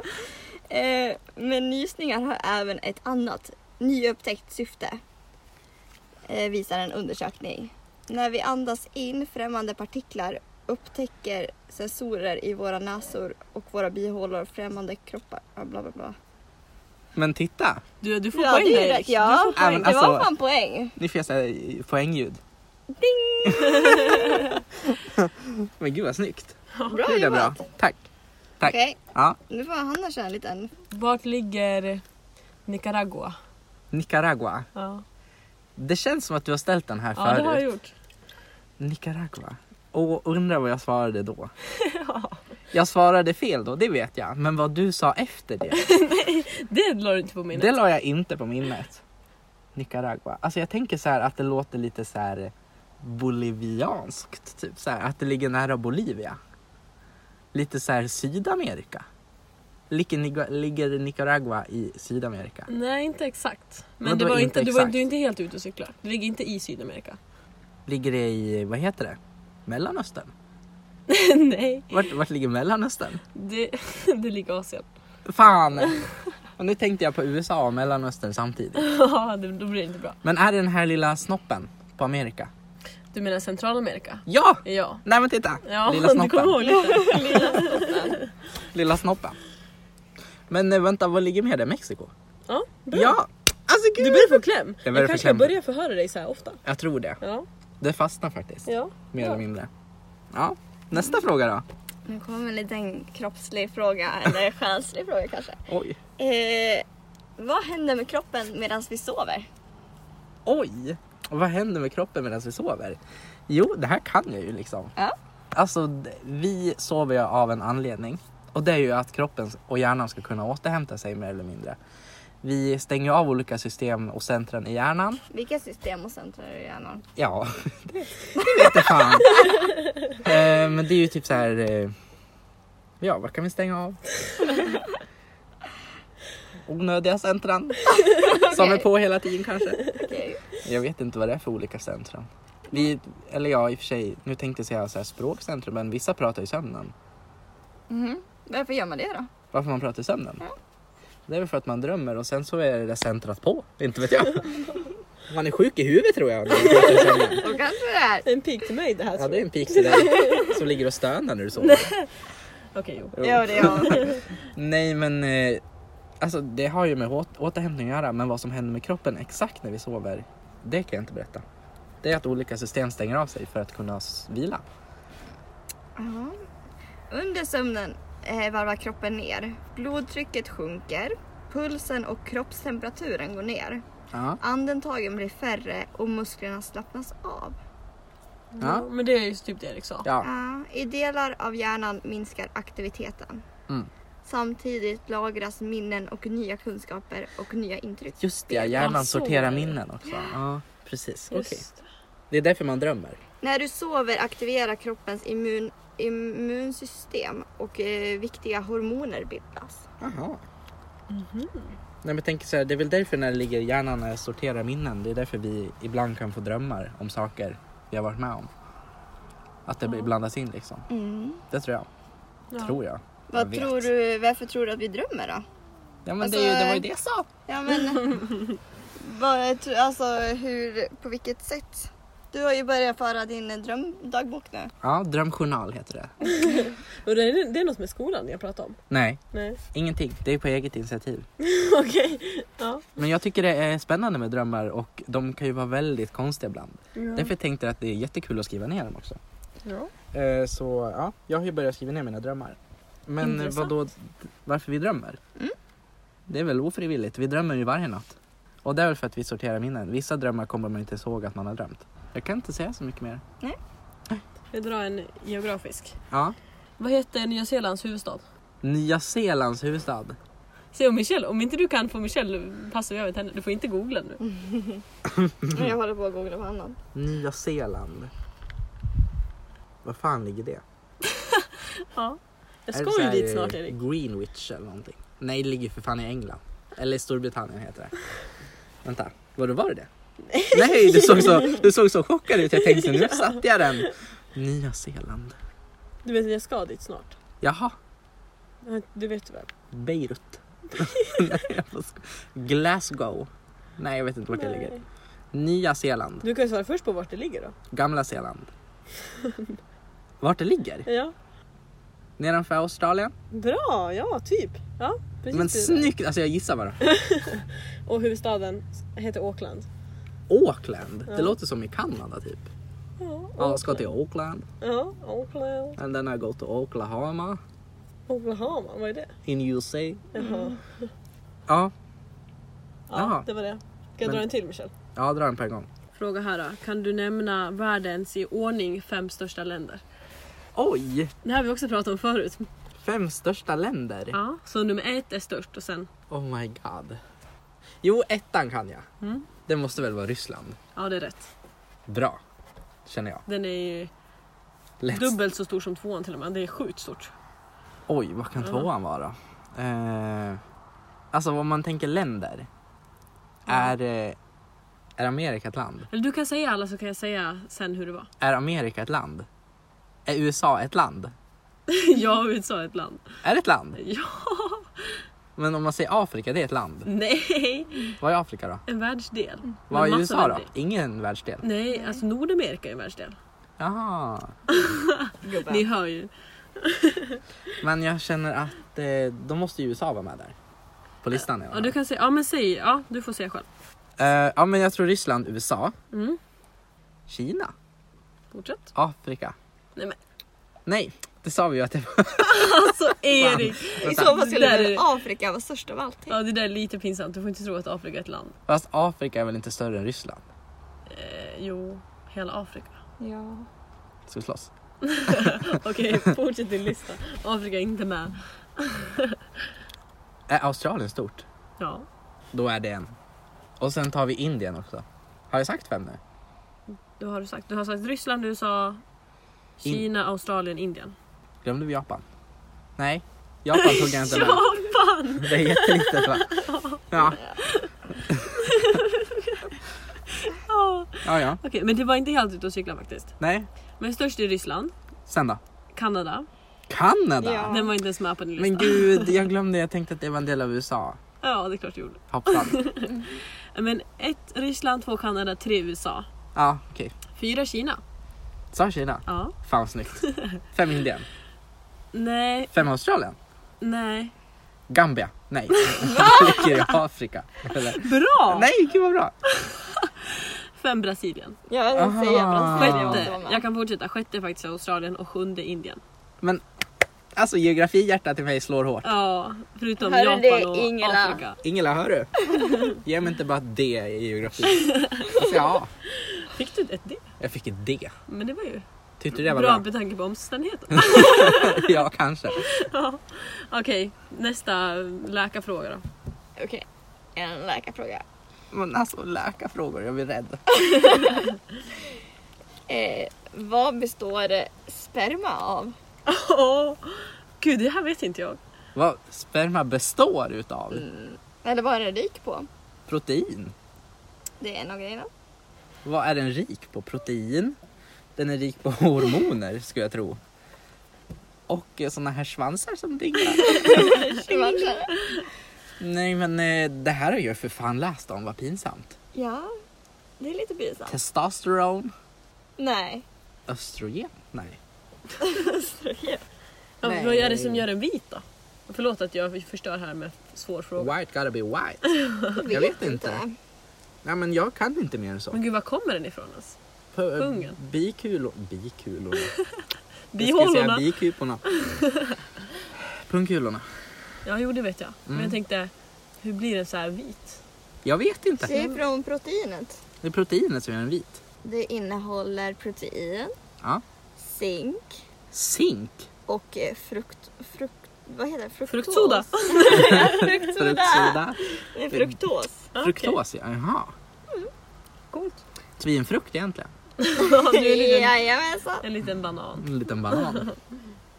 [SPEAKER 4] Eh, men nysningar har även ett annat nyupptäckt syfte. Eh, visar en undersökning. När vi andas in främmande partiklar upptäcker sensorer i våra näsor och våra bihålor främmande kroppar. Ja, Bla, bla, bla.
[SPEAKER 2] Men titta,
[SPEAKER 3] Du, du får
[SPEAKER 4] Ja,
[SPEAKER 3] poäng
[SPEAKER 4] det är ju
[SPEAKER 3] Erik.
[SPEAKER 4] rätt. Ja,
[SPEAKER 2] får poäng.
[SPEAKER 4] det var
[SPEAKER 2] Alltså-
[SPEAKER 4] fan poäng.
[SPEAKER 2] nu får jag säga eh, poängljud.
[SPEAKER 4] Ding!
[SPEAKER 2] [laughs] Men gud vad snyggt.
[SPEAKER 4] Bra
[SPEAKER 2] Det är bra.
[SPEAKER 4] jobbat.
[SPEAKER 2] Tack. Tack.
[SPEAKER 4] Okej,
[SPEAKER 2] Ja,
[SPEAKER 4] nu får Hanna köra en liten.
[SPEAKER 3] Vart ligger Nicaragua?
[SPEAKER 2] Nicaragua.
[SPEAKER 3] Ja,
[SPEAKER 2] Det känns som att du har ställt den här
[SPEAKER 3] ja det har
[SPEAKER 2] förut.
[SPEAKER 3] jag gjort.
[SPEAKER 2] Nicaragua. Och undrar vad jag svarade
[SPEAKER 3] [laughs]
[SPEAKER 2] då. Jag svarade fel då, det vet jag. Men vad du sa efter det,
[SPEAKER 3] Det la du inte på [laughs] minnet.
[SPEAKER 2] det la jag inte på minnet. Nicaragua. Alltså jag tänker så här att det låter lite så här eh, bolivianskt. Typ så här, att det ligger nära Bolivia. Lite så här Sydamerika. Ligger, Niga- ligger Nicaragua i Sydamerika?
[SPEAKER 3] Nej, inte exakt. Men
[SPEAKER 2] Vadå
[SPEAKER 3] det var
[SPEAKER 2] inte
[SPEAKER 3] inte, du var
[SPEAKER 2] exakt?
[SPEAKER 3] du är inte helt ute och cyklar. Det ligger inte i Sydamerika.
[SPEAKER 2] Ligger det i, vad heter det? Mellanöstern?
[SPEAKER 3] Nej,
[SPEAKER 2] Vart, vart ligger Mellanöstern?
[SPEAKER 3] det, [laughs] det ligger i Asien.
[SPEAKER 2] Fan! Och nu tänkte jag på USA och Mellanöstern samtidigt.
[SPEAKER 3] Ja, [laughs] det- då blir det inte bra.
[SPEAKER 2] Men är det den här lilla snoppen på Amerika?
[SPEAKER 3] Du menar Centralamerika?
[SPEAKER 2] Ja!
[SPEAKER 3] Ja.
[SPEAKER 2] Nej men titta!
[SPEAKER 3] Ja, [laughs]
[SPEAKER 2] lilla
[SPEAKER 3] du kommer ihåg
[SPEAKER 2] snoppen.
[SPEAKER 3] lite.
[SPEAKER 2] Lilla snoppen. Men eh, vänta, vad ligger mer där? Mexiko?
[SPEAKER 3] Ja, bra.
[SPEAKER 2] Ja! Alltså gud!
[SPEAKER 3] Du börjar få kläm.
[SPEAKER 2] Jag
[SPEAKER 3] Jag,
[SPEAKER 2] börjar få
[SPEAKER 3] kanske
[SPEAKER 2] kläm.
[SPEAKER 3] ska börja förhöra dig så här ofta.
[SPEAKER 2] Jag tror det.
[SPEAKER 3] Ja.
[SPEAKER 2] Det fastnar faktiskt.
[SPEAKER 3] ja.
[SPEAKER 2] Mer
[SPEAKER 3] ja.
[SPEAKER 2] eller mindre. Ja, nästa fråga då.
[SPEAKER 4] Nu kommer en liten kroppslig fråga, eller själslig fråga kanske.
[SPEAKER 2] Oj.
[SPEAKER 4] Eh, vad händer med kroppen medan vi sover?
[SPEAKER 2] Oj! Vad händer med kroppen medan vi sover? Jo, det här kan jag ju liksom.
[SPEAKER 4] Ja.
[SPEAKER 2] Alltså, d- vi sover ju av en anledning. Och det är ju att kroppen och hjärnan ska kunna återhämta sig mer eller mindre. Vi stänger ju av olika system och centren i hjärnan.
[SPEAKER 4] Vilka system och centra i hjärnan?
[SPEAKER 2] Ja, [laughs] det vete fan. eh, men det är ju typ så här... Eh, ja, vad kan vi stänga av? Onödiga centran. Som är på hela tiden kanske.
[SPEAKER 4] Okej.
[SPEAKER 2] Jag vet inte vad det är för olika centrum. Vi, eller ja, i och för sig, nu tänkte jag säga så här språkcentrum, men vissa pratar i sömnen.
[SPEAKER 4] Mhm. Varför gör man det då?
[SPEAKER 2] Varför man pratar i sömnen? Det är väl för att man drömmer och sen så är det där centrat på. Inte vet jag. Man är sjuk i huvudet tror jag. när man pratar i sömnen.
[SPEAKER 4] Då kanske det är.
[SPEAKER 3] En pik till mig det här
[SPEAKER 2] Ja,
[SPEAKER 3] tror
[SPEAKER 2] det är
[SPEAKER 3] jag.
[SPEAKER 2] en pik till dig som ligger och stönar när du sover.
[SPEAKER 3] Okej, jo.
[SPEAKER 2] Jo.
[SPEAKER 4] Ja, det
[SPEAKER 2] [laughs]
[SPEAKER 4] är jag.
[SPEAKER 2] Nej, men eh, alltså, det har ju med åt- återhämtning att göra, men vad som händer med kroppen exakt när vi sover, det kan jag inte berätta. Det är att olika system stänger av sig för att kunna s- vila.
[SPEAKER 4] Ja. Under sömnen eh, varvar kroppen ner. Blodtrycket sjunker. Pulsen och kroppstemperaturen går ner.
[SPEAKER 2] Ja,
[SPEAKER 4] Andetagen blir färre och musklerna slappnas av.
[SPEAKER 2] ja,
[SPEAKER 3] Men det är ju typ det Erik sa.
[SPEAKER 2] ja.
[SPEAKER 4] Ja, I delar av hjärnan minskar aktiviteten.
[SPEAKER 2] Mm.
[SPEAKER 4] Samtidigt lagras minnen och nya kunskaper och nya intryck.
[SPEAKER 2] Just det, hjärnan sorterar minnen också. Ja, precis. Okej.
[SPEAKER 3] Just.
[SPEAKER 2] Det är därför man drömmer.
[SPEAKER 4] När du sover aktiverar kroppens immun, immunsystem och eh, viktiga hormoner bildas.
[SPEAKER 2] Aha. Nej, men tänk så här, det är väl därför när det ligger i hjärnan när jag sorterar minnen, det är därför vi ibland kan få drömmar om saker vi har varit med om. Att det blir- blandas in liksom. Det tror jag.
[SPEAKER 3] Ja.
[SPEAKER 2] Tror jag. Jag
[SPEAKER 4] Mm. Vad
[SPEAKER 2] vet.
[SPEAKER 4] tror du, varför tror du att vi drömmer då?
[SPEAKER 2] Ja men
[SPEAKER 4] Alltså,
[SPEAKER 2] det, är ju- det var ju det jag sa.
[SPEAKER 4] Ja men,
[SPEAKER 3] [laughs]
[SPEAKER 4] vad, tro- alltså hur, på vilket sätt? Du har ju börjat föra din eh, drömdagbok nu.
[SPEAKER 2] Ja, drömjournal heter det.
[SPEAKER 3] Och det, är, det är något med skolan jag pratade om.
[SPEAKER 2] Nej,
[SPEAKER 3] Nej.
[SPEAKER 2] ingenting. Det är på eget initiativ.
[SPEAKER 3] [laughs] Okej. Ja.
[SPEAKER 2] Men jag tycker det är spännande med drömmar och de kan ju vara väldigt konstiga ibland.
[SPEAKER 3] Mm.
[SPEAKER 2] Därför tänkte jag att det är jättekul att skriva ner dem också.
[SPEAKER 3] Ja.
[SPEAKER 2] Eh, Så ja, jag har ju börjat skriva ner mina drömmar. Men vad
[SPEAKER 3] Intressant.
[SPEAKER 2] då, varför vi drömmer? Det är väl ofrivilligt, vi drömmer ju varje natt. Och det är väl för att vi sorterar minnen. Vissa drömmar kommer man inte ihåg att man har drömt. Jag kan inte säga så mycket mer.
[SPEAKER 3] Jag drar en geografisk.
[SPEAKER 2] Ja.
[SPEAKER 3] Vad heter Nya Zeelands huvudstad?
[SPEAKER 2] Nya Zeelands huvudstad.
[SPEAKER 3] Se om Michelle, om inte du kan få Michelle passar vi över till henne. Du får inte googla nu.
[SPEAKER 4] Men Mm. Jag håller på att googla på annan.
[SPEAKER 2] Nya Zeeland. Vad fan ligger det?
[SPEAKER 3] Ja. Jag
[SPEAKER 2] Är det så
[SPEAKER 3] ska ju
[SPEAKER 2] här,
[SPEAKER 3] dit snart
[SPEAKER 2] eh,
[SPEAKER 3] Erik.
[SPEAKER 2] Greenwich eller någonting. Nej, det ligger för fan i England. Eller Storbritannien heter det. Vänta, vadå var det
[SPEAKER 3] [laughs]
[SPEAKER 2] det? Nej, du såg så, du såg så chockad ut. Jag tänkte nu satte jag den. Nya Zeeland.
[SPEAKER 3] Du vet jag ska dit snart.
[SPEAKER 2] Jaha,
[SPEAKER 3] Du vet väl? [laughs]
[SPEAKER 2] Beirut. Nej, jag får sko- Glasgow. Nej, jag vet inte vart det ligger.
[SPEAKER 3] Nej.
[SPEAKER 2] Nya Zeeland.
[SPEAKER 3] Du kan ju svara först på vart det ligger då.
[SPEAKER 2] Gamla Zeeland. Vart det ligger?
[SPEAKER 3] Ja.
[SPEAKER 2] Nedanför Australien?
[SPEAKER 3] Bra, ja typ. Ja, precis.
[SPEAKER 2] Men
[SPEAKER 3] det.
[SPEAKER 2] snyggt! Alltså jag gissar bara.
[SPEAKER 3] Och huvudstaden heter Auckland.
[SPEAKER 2] Auckland? Det
[SPEAKER 3] Ja.
[SPEAKER 2] låter som i Kanada typ.
[SPEAKER 3] Ja,
[SPEAKER 2] Ja, jag ska till Auckland.
[SPEAKER 3] Ja, Auckland.
[SPEAKER 2] And then I go to Oklahoma
[SPEAKER 3] Oklahoma, vad är det?
[SPEAKER 2] in USA.
[SPEAKER 3] Jaha.
[SPEAKER 2] Ja,
[SPEAKER 3] Ja,
[SPEAKER 2] Mm. Jaha.
[SPEAKER 3] det var det. Ska jag
[SPEAKER 2] Men-
[SPEAKER 3] dra en till Michelle?
[SPEAKER 2] ja dra den på en gång.
[SPEAKER 3] Fråga här då. Kan du nämna världens i ordning fem största länder?
[SPEAKER 2] Oj!
[SPEAKER 3] Det här har vi också pratat om förut.
[SPEAKER 2] Fem största länder.
[SPEAKER 3] Ja. Så nummer ett är störst och sen,
[SPEAKER 2] Oh my god. Jo, ettan kan jag.
[SPEAKER 3] Mm.
[SPEAKER 2] Det måste väl vara Ryssland.
[SPEAKER 3] ja det är rätt.
[SPEAKER 2] Bra, känner jag.
[SPEAKER 3] Den är ju
[SPEAKER 2] Let's...
[SPEAKER 3] dubbelt så stor som tvåan till och med. Det är sjukt stort.
[SPEAKER 2] Oj, vad kan tvåan vara? Eh, alltså om man tänker länder. Är eh, Är Amerika ett land?
[SPEAKER 3] Eller du kan säga alla så kan jag säga sen hur det [laughs] var.
[SPEAKER 2] Är Amerika ett land? Är USA ett land?
[SPEAKER 3] ja, USA är ett land.
[SPEAKER 2] Är det ett land?
[SPEAKER 3] Ja,
[SPEAKER 2] Men om man säger Afrika, det är ett land.
[SPEAKER 3] nej!
[SPEAKER 2] Vad är Afrika då?
[SPEAKER 3] En världsdel.
[SPEAKER 2] Vad
[SPEAKER 3] Med
[SPEAKER 2] är
[SPEAKER 3] massa
[SPEAKER 2] USA då?
[SPEAKER 3] världsdel.
[SPEAKER 2] Ingen världsdel?
[SPEAKER 3] Mm. Nej, alltså Nordamerika är en världsdel.
[SPEAKER 2] Jaha.
[SPEAKER 4] gubben.
[SPEAKER 3] Ni hör ju.
[SPEAKER 2] Men jag känner att eh, då måste ju USA vara med där. På listan. i alla
[SPEAKER 3] Ja, du
[SPEAKER 2] fall.
[SPEAKER 3] kan säga, ja men säg, ja du får säga själv.
[SPEAKER 2] Eh, ja, men jag tror Ryssland, USA,
[SPEAKER 3] Mm,
[SPEAKER 2] Kina,
[SPEAKER 3] fortsätt.
[SPEAKER 2] Afrika.
[SPEAKER 3] Nej men
[SPEAKER 2] Nej, det sa vi ju att det var.
[SPEAKER 3] [laughs] alltså Erik!
[SPEAKER 4] I så fall skulle
[SPEAKER 3] Där är
[SPEAKER 4] väl
[SPEAKER 3] det.
[SPEAKER 4] Afrika vara störst av
[SPEAKER 3] [laughs]
[SPEAKER 4] allting.
[SPEAKER 3] Ja det där är lite pinsamt, du får inte tro att Afrika är ett land.
[SPEAKER 2] Fast Afrika är väl inte större än Ryssland?
[SPEAKER 3] Eh, jo, hela [laughs] Afrika.
[SPEAKER 4] Ja.
[SPEAKER 2] Ska vi slåss?
[SPEAKER 3] Okej, fortsätt din lista. Afrika är inte med.
[SPEAKER 2] Är Eh, Australien stort?
[SPEAKER 3] Ja,
[SPEAKER 2] Då är det en. Och sen tar vi Indien också. Har jag sagt fem nu?
[SPEAKER 3] det har du sagt. Du har sagt Ryssland, USA, Kina, Australien, Indien.
[SPEAKER 2] Glömde vi Japan? Nej, Japan tog
[SPEAKER 3] [laughs]
[SPEAKER 2] jag inte med.
[SPEAKER 3] Japan!
[SPEAKER 2] Det är jättelitet
[SPEAKER 3] [laughs]
[SPEAKER 2] va? Ja,
[SPEAKER 3] Ja.
[SPEAKER 2] ja, ja.
[SPEAKER 3] Okej, men det var inte helt ute och cykla faktiskt.
[SPEAKER 2] Nej,
[SPEAKER 3] Men störst är Ryssland,
[SPEAKER 2] sen då?
[SPEAKER 3] Kanada.
[SPEAKER 2] Kanada?
[SPEAKER 4] Ja.
[SPEAKER 3] Den var inte ens med på din lista.
[SPEAKER 2] Men gud, jag glömde. Jag tänkte att det var en del av USA.
[SPEAKER 3] Ja, det är klart du gjorde.
[SPEAKER 2] Hoppsan.
[SPEAKER 3] Men ett Ryssland, två Kanada, tre USA.
[SPEAKER 2] Ja, okej.
[SPEAKER 3] Fyra Kina.
[SPEAKER 2] Sa Kina?
[SPEAKER 3] Ja.
[SPEAKER 2] Fan vad snyggt. Fem Indien.
[SPEAKER 3] Nej,
[SPEAKER 2] Fem Australien.
[SPEAKER 3] nej.
[SPEAKER 2] Gambia. Nej. Det ligger i Afrika. Eller?
[SPEAKER 3] Bra!
[SPEAKER 2] Nej, gud vad bra.
[SPEAKER 3] Fem Brasilien.
[SPEAKER 4] Jag vill
[SPEAKER 2] Aha.
[SPEAKER 4] säga Brasilien måste vara
[SPEAKER 3] Sjätte,
[SPEAKER 4] med.
[SPEAKER 3] jag kan fortsätta. Sjätte är faktiskt Australien och sjunde Indien.
[SPEAKER 2] Men alltså geografihjärtat i mig slår hårt.
[SPEAKER 3] Ja, förutom
[SPEAKER 4] Hörru
[SPEAKER 3] Japan
[SPEAKER 4] du,
[SPEAKER 3] och
[SPEAKER 4] Ingela.
[SPEAKER 3] Afrika.
[SPEAKER 2] Ingela, hör du? Ge mig inte bara ett D i geografi. Alltså, ja,
[SPEAKER 3] Fick du ett D?
[SPEAKER 2] jag fick ett D.
[SPEAKER 3] Men det var ju
[SPEAKER 2] Tyckte du det var
[SPEAKER 3] bra
[SPEAKER 2] bra?
[SPEAKER 3] med tanke på omständigheten. [laughs]
[SPEAKER 2] [laughs] ja, kanske.
[SPEAKER 3] Okej, nästa läkarfråga då.
[SPEAKER 4] Okej, en läkarfråga.
[SPEAKER 2] Men alltså läkarfrågor, jag blir rädd.
[SPEAKER 4] Eh, vad består sperma av?
[SPEAKER 3] Åh, Gud, det här vet inte jag.
[SPEAKER 2] Vad sperma består utav?
[SPEAKER 4] Eller vad är den rik på?
[SPEAKER 2] Protein.
[SPEAKER 4] Det är en av [laughs] grejerna.
[SPEAKER 2] Vad är den rik på? Protein. Den är rik på [laughs] hormoner, skulle jag tro. Och eh, såna här svansar som [laughs] dinglar. Nej men eh, det här har jag för fan läst om, vad pinsamt.
[SPEAKER 4] ja, det är lite pinsamt.
[SPEAKER 2] Testosteron,
[SPEAKER 4] Nej.
[SPEAKER 2] östrogen? Nej.
[SPEAKER 4] [laughs]
[SPEAKER 3] Ja,
[SPEAKER 2] Nej.
[SPEAKER 3] Vad är det som gör en vit då? Förlåt att jag förstör här med svår fråga.
[SPEAKER 2] White gotta be white. [laughs] Jag vet inte. Nej men jag kan inte mer än så.
[SPEAKER 3] Men gud, var kommer den ifrån alltså? ens?
[SPEAKER 2] P-
[SPEAKER 3] pungen.
[SPEAKER 2] Bikulor. Bikulorna. Jag
[SPEAKER 3] Bihålorna?
[SPEAKER 2] skulle säga [laughs] bikuporna. Pungkulorna.
[SPEAKER 3] Ja, jo det vet jag. Men
[SPEAKER 2] Mm.
[SPEAKER 3] jag tänkte, hur blir den så här vit?
[SPEAKER 2] Jag vet inte.
[SPEAKER 4] Det är från proteinet.
[SPEAKER 2] Det är proteinet som gör den vit.
[SPEAKER 4] Det innehåller protein,
[SPEAKER 2] Ja.
[SPEAKER 4] zink
[SPEAKER 2] Zink.
[SPEAKER 4] och eh, frukt... frukt vad heter det? Fruktos. [laughs]
[SPEAKER 3] Fruktsoda!
[SPEAKER 4] Fruktsoda.
[SPEAKER 2] Fruktsoda.
[SPEAKER 4] Det är fruktos.
[SPEAKER 3] Ah,
[SPEAKER 2] Fruktos, ja. Jaha.
[SPEAKER 3] Coolt.
[SPEAKER 2] Tvinfrukt egentligen.
[SPEAKER 3] Ja, nu är det en-
[SPEAKER 4] Jajamensan.
[SPEAKER 3] en
[SPEAKER 2] Mm.
[SPEAKER 3] liten banan.
[SPEAKER 2] En liten
[SPEAKER 3] [laughs]
[SPEAKER 2] banan.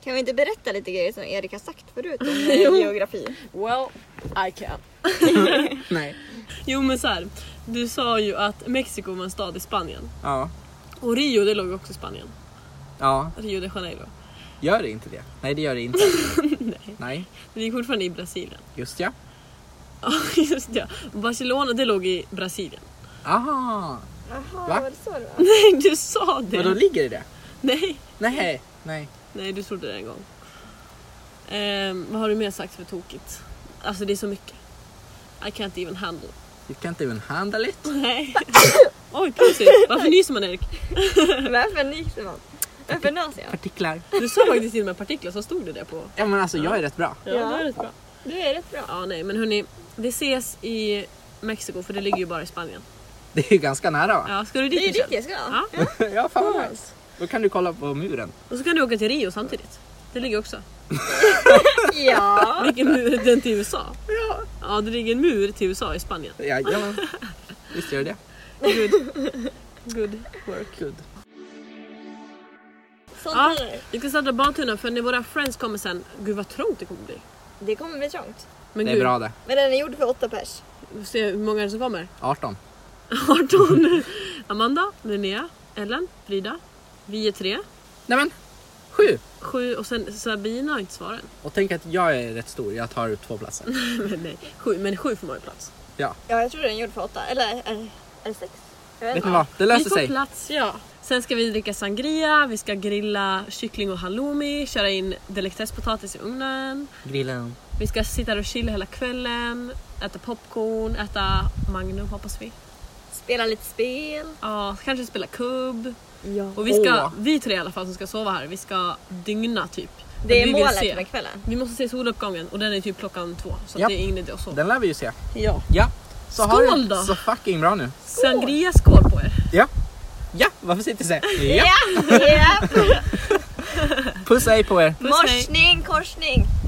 [SPEAKER 4] Kan vi inte berätta lite grejer som Erik har sagt förut om eh, geografi?
[SPEAKER 3] Well, I can.
[SPEAKER 2] Nej.
[SPEAKER 3] Jo men så här. du sa ju att Mexiko var en stad i Spanien.
[SPEAKER 2] Ja.
[SPEAKER 3] Och Rio det låg också i Spanien.
[SPEAKER 2] Ja.
[SPEAKER 3] Rio de Janeiro.
[SPEAKER 2] Gör det inte det? Nej, det gör det
[SPEAKER 3] [laughs]
[SPEAKER 2] inte. Nej.
[SPEAKER 3] Men det är fortfarande i Brasilien. [laughs]
[SPEAKER 2] Just ja.
[SPEAKER 3] Ja just det. Barcelona det låg i Brasilien. [laughs]
[SPEAKER 2] Aha.
[SPEAKER 4] Jaha,
[SPEAKER 2] Va?
[SPEAKER 4] var det så det var?
[SPEAKER 3] Nej du sa
[SPEAKER 2] Men då
[SPEAKER 3] det!
[SPEAKER 2] ligger det det?
[SPEAKER 3] Nej,
[SPEAKER 2] Nej. Nej.
[SPEAKER 3] nej du trodde det en gång. Ehm, vad har du mer sagt för tokigt? Alltså det är så mycket. I can't even handle.
[SPEAKER 2] You can't even handle it.
[SPEAKER 3] [laughs] Nej. Oj plötsligt, varför nyser man Erik?
[SPEAKER 4] Varför nyser man? Varför nös jag?
[SPEAKER 2] Partiklar.
[SPEAKER 3] Du sa faktiskt till och med partiklar så stod det där på.
[SPEAKER 2] Ja men alltså jag är rätt bra.
[SPEAKER 3] Ja,
[SPEAKER 4] Ja.
[SPEAKER 3] det är rätt bra.
[SPEAKER 4] Du är rätt bra.
[SPEAKER 3] Ja, nej, men hörni, vi ses i Mexiko för det ligger ju bara i Spanien.
[SPEAKER 2] Det är ju ganska nära va?
[SPEAKER 3] Ja, ska du
[SPEAKER 4] Det är ju
[SPEAKER 3] dit
[SPEAKER 4] dit
[SPEAKER 3] Michelle?
[SPEAKER 4] jag ska.
[SPEAKER 3] Ja.
[SPEAKER 2] [laughs] Ja, fan vad nice. Då kan du kolla på muren.
[SPEAKER 3] Och så kan du åka till Rio samtidigt. Det ligger också.
[SPEAKER 4] Ja.
[SPEAKER 3] Vilken mur? Den till USA? Ja. Ja, det ligger en mur till USA i Spanien.
[SPEAKER 2] Ja, ja. Visst gör det
[SPEAKER 3] Good. Good.
[SPEAKER 2] Work good.
[SPEAKER 4] Sånt
[SPEAKER 3] Ja,
[SPEAKER 4] här.
[SPEAKER 3] vi ska starta badtunnan för när våra friends kommer sen, gud vad trångt det kommer bli.
[SPEAKER 4] Det kommer bli trångt.
[SPEAKER 3] Men
[SPEAKER 2] Det är
[SPEAKER 3] gud,
[SPEAKER 2] bra det.
[SPEAKER 4] Men den är gjord för åtta pers.
[SPEAKER 3] vi får se hur många är det som kommer.
[SPEAKER 2] 18.
[SPEAKER 3] 18. Amanda, Linnea, Ellen, Frida. Vi är tre.
[SPEAKER 2] Nej men, sju!
[SPEAKER 3] Sju och sen Sabina har inte svarat än.
[SPEAKER 2] Och tänk att jag är rätt stor, jag tar två platser.
[SPEAKER 3] [laughs] Men nej, sju, men sju får man ju plats.
[SPEAKER 2] Ja,
[SPEAKER 4] Ja, jag tror den gjorde för åtta. Eller är är det sex? Jag
[SPEAKER 2] vet
[SPEAKER 4] vet
[SPEAKER 2] ni
[SPEAKER 4] inte.
[SPEAKER 2] vad? Det
[SPEAKER 3] vi
[SPEAKER 2] löser
[SPEAKER 3] får
[SPEAKER 2] sig.
[SPEAKER 3] plats, ja. Sen ska vi dricka sangria, vi ska grilla kyckling och halloumi, köra in delikatesspotatis i ugnen.
[SPEAKER 2] Grillen.
[SPEAKER 3] Vi ska sitta och chilla hela kvällen, äta popcorn, äta Magnum hoppas vi.
[SPEAKER 4] Spela lite spel.
[SPEAKER 3] Ja, kanske spela kubb.
[SPEAKER 4] Ja.
[SPEAKER 3] Och vi ska,
[SPEAKER 2] Åh.
[SPEAKER 3] vi tre i alla fall som ska sova här, vi ska dygna typ.
[SPEAKER 4] Det
[SPEAKER 3] Vi
[SPEAKER 4] är
[SPEAKER 3] vill
[SPEAKER 4] målet
[SPEAKER 3] se.
[SPEAKER 4] med kvällen.
[SPEAKER 3] Vi måste se soluppgången och den är typ klockan två så
[SPEAKER 2] Japp.
[SPEAKER 3] att det är ingen idé att sova.
[SPEAKER 2] Den lär vi ju se.
[SPEAKER 3] Ja.
[SPEAKER 2] Ja. Så har
[SPEAKER 3] Skål
[SPEAKER 2] det
[SPEAKER 3] då.
[SPEAKER 2] Så fucking bra nu.
[SPEAKER 3] Sangria skål på er!
[SPEAKER 2] Ja. Ja, varför sitter sig? Ja.
[SPEAKER 4] Ja! ja.
[SPEAKER 2] Puss hej på er.
[SPEAKER 3] hej.
[SPEAKER 4] Morsning, korsning!